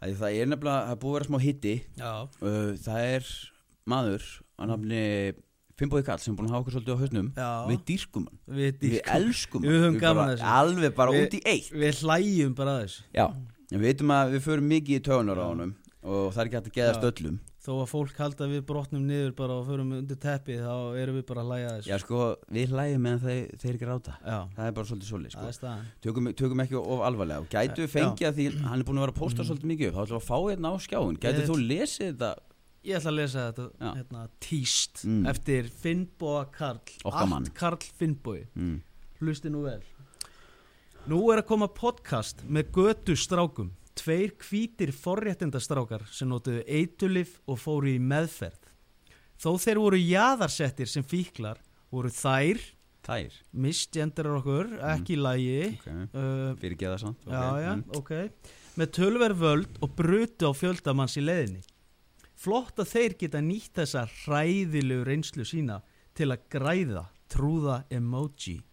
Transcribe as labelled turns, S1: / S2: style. S1: að það er nefnilega, það er búið að vera smá hitti
S2: Já,
S1: uh, það er maður að nafni Fimboði Kall sem er búin að hafa okkur svolítið á hausnum
S2: Já.
S1: við dýrkum hann,
S2: við,
S1: við elskum hann
S2: Við höfum gaman
S1: bara-
S2: að þessu.
S1: alveg bara
S2: Við-
S1: út í eitt
S2: við hlæjum bara að þessu
S1: já, en við veitum að við förum mikið í tögunar á honum og það er ekki hægt að geðast
S2: Já.
S1: öllum
S2: Þó að fólk halda að við brotnum niður bara og förum undir teppið þá erum við bara að hlæja að þessu
S1: já sko, við hlægjum meðan þeir, þeir ekki ráta
S2: Já,
S1: það er bara svolítið svolítið
S2: það
S1: sko.
S2: er Eh, staðan
S1: tökum, tökum ekki of alvarlega og gætu við fengið að því hann er búin að vera að
S2: Mm.
S1: posta svolítið mikið upp þá ætlum við að fá hérna á skjáin gætu
S2: Ég-
S1: þú lesið þetta
S2: Ég ætla að lesa þetta
S1: Já.
S2: hérna, tíst
S1: Mm.
S2: eftir Finnboa Karl
S1: Okkar mann.
S2: Allt Karl Finnboi
S1: mm.
S2: Hlusti nú vel Nú er að koma podcast með götu strákum Tveir hvítir forréttindastrákar sem notuðu eitulif og fóru í meðferð Þó þeir voru jaðarsettir sem fíklar voru þær,
S1: þær
S2: misgenderar okkur, ekki í lagi
S1: okay.
S2: uh,
S1: fyrir geða samt
S2: Já,
S1: Mm. ok,
S2: já,
S1: mm.
S2: ok Með tölver völd og bruti á fjöldamanns í leiðinni Flott að þeir geta nýtt þessa hræðilegu reynslu sína til að græða trúða emoji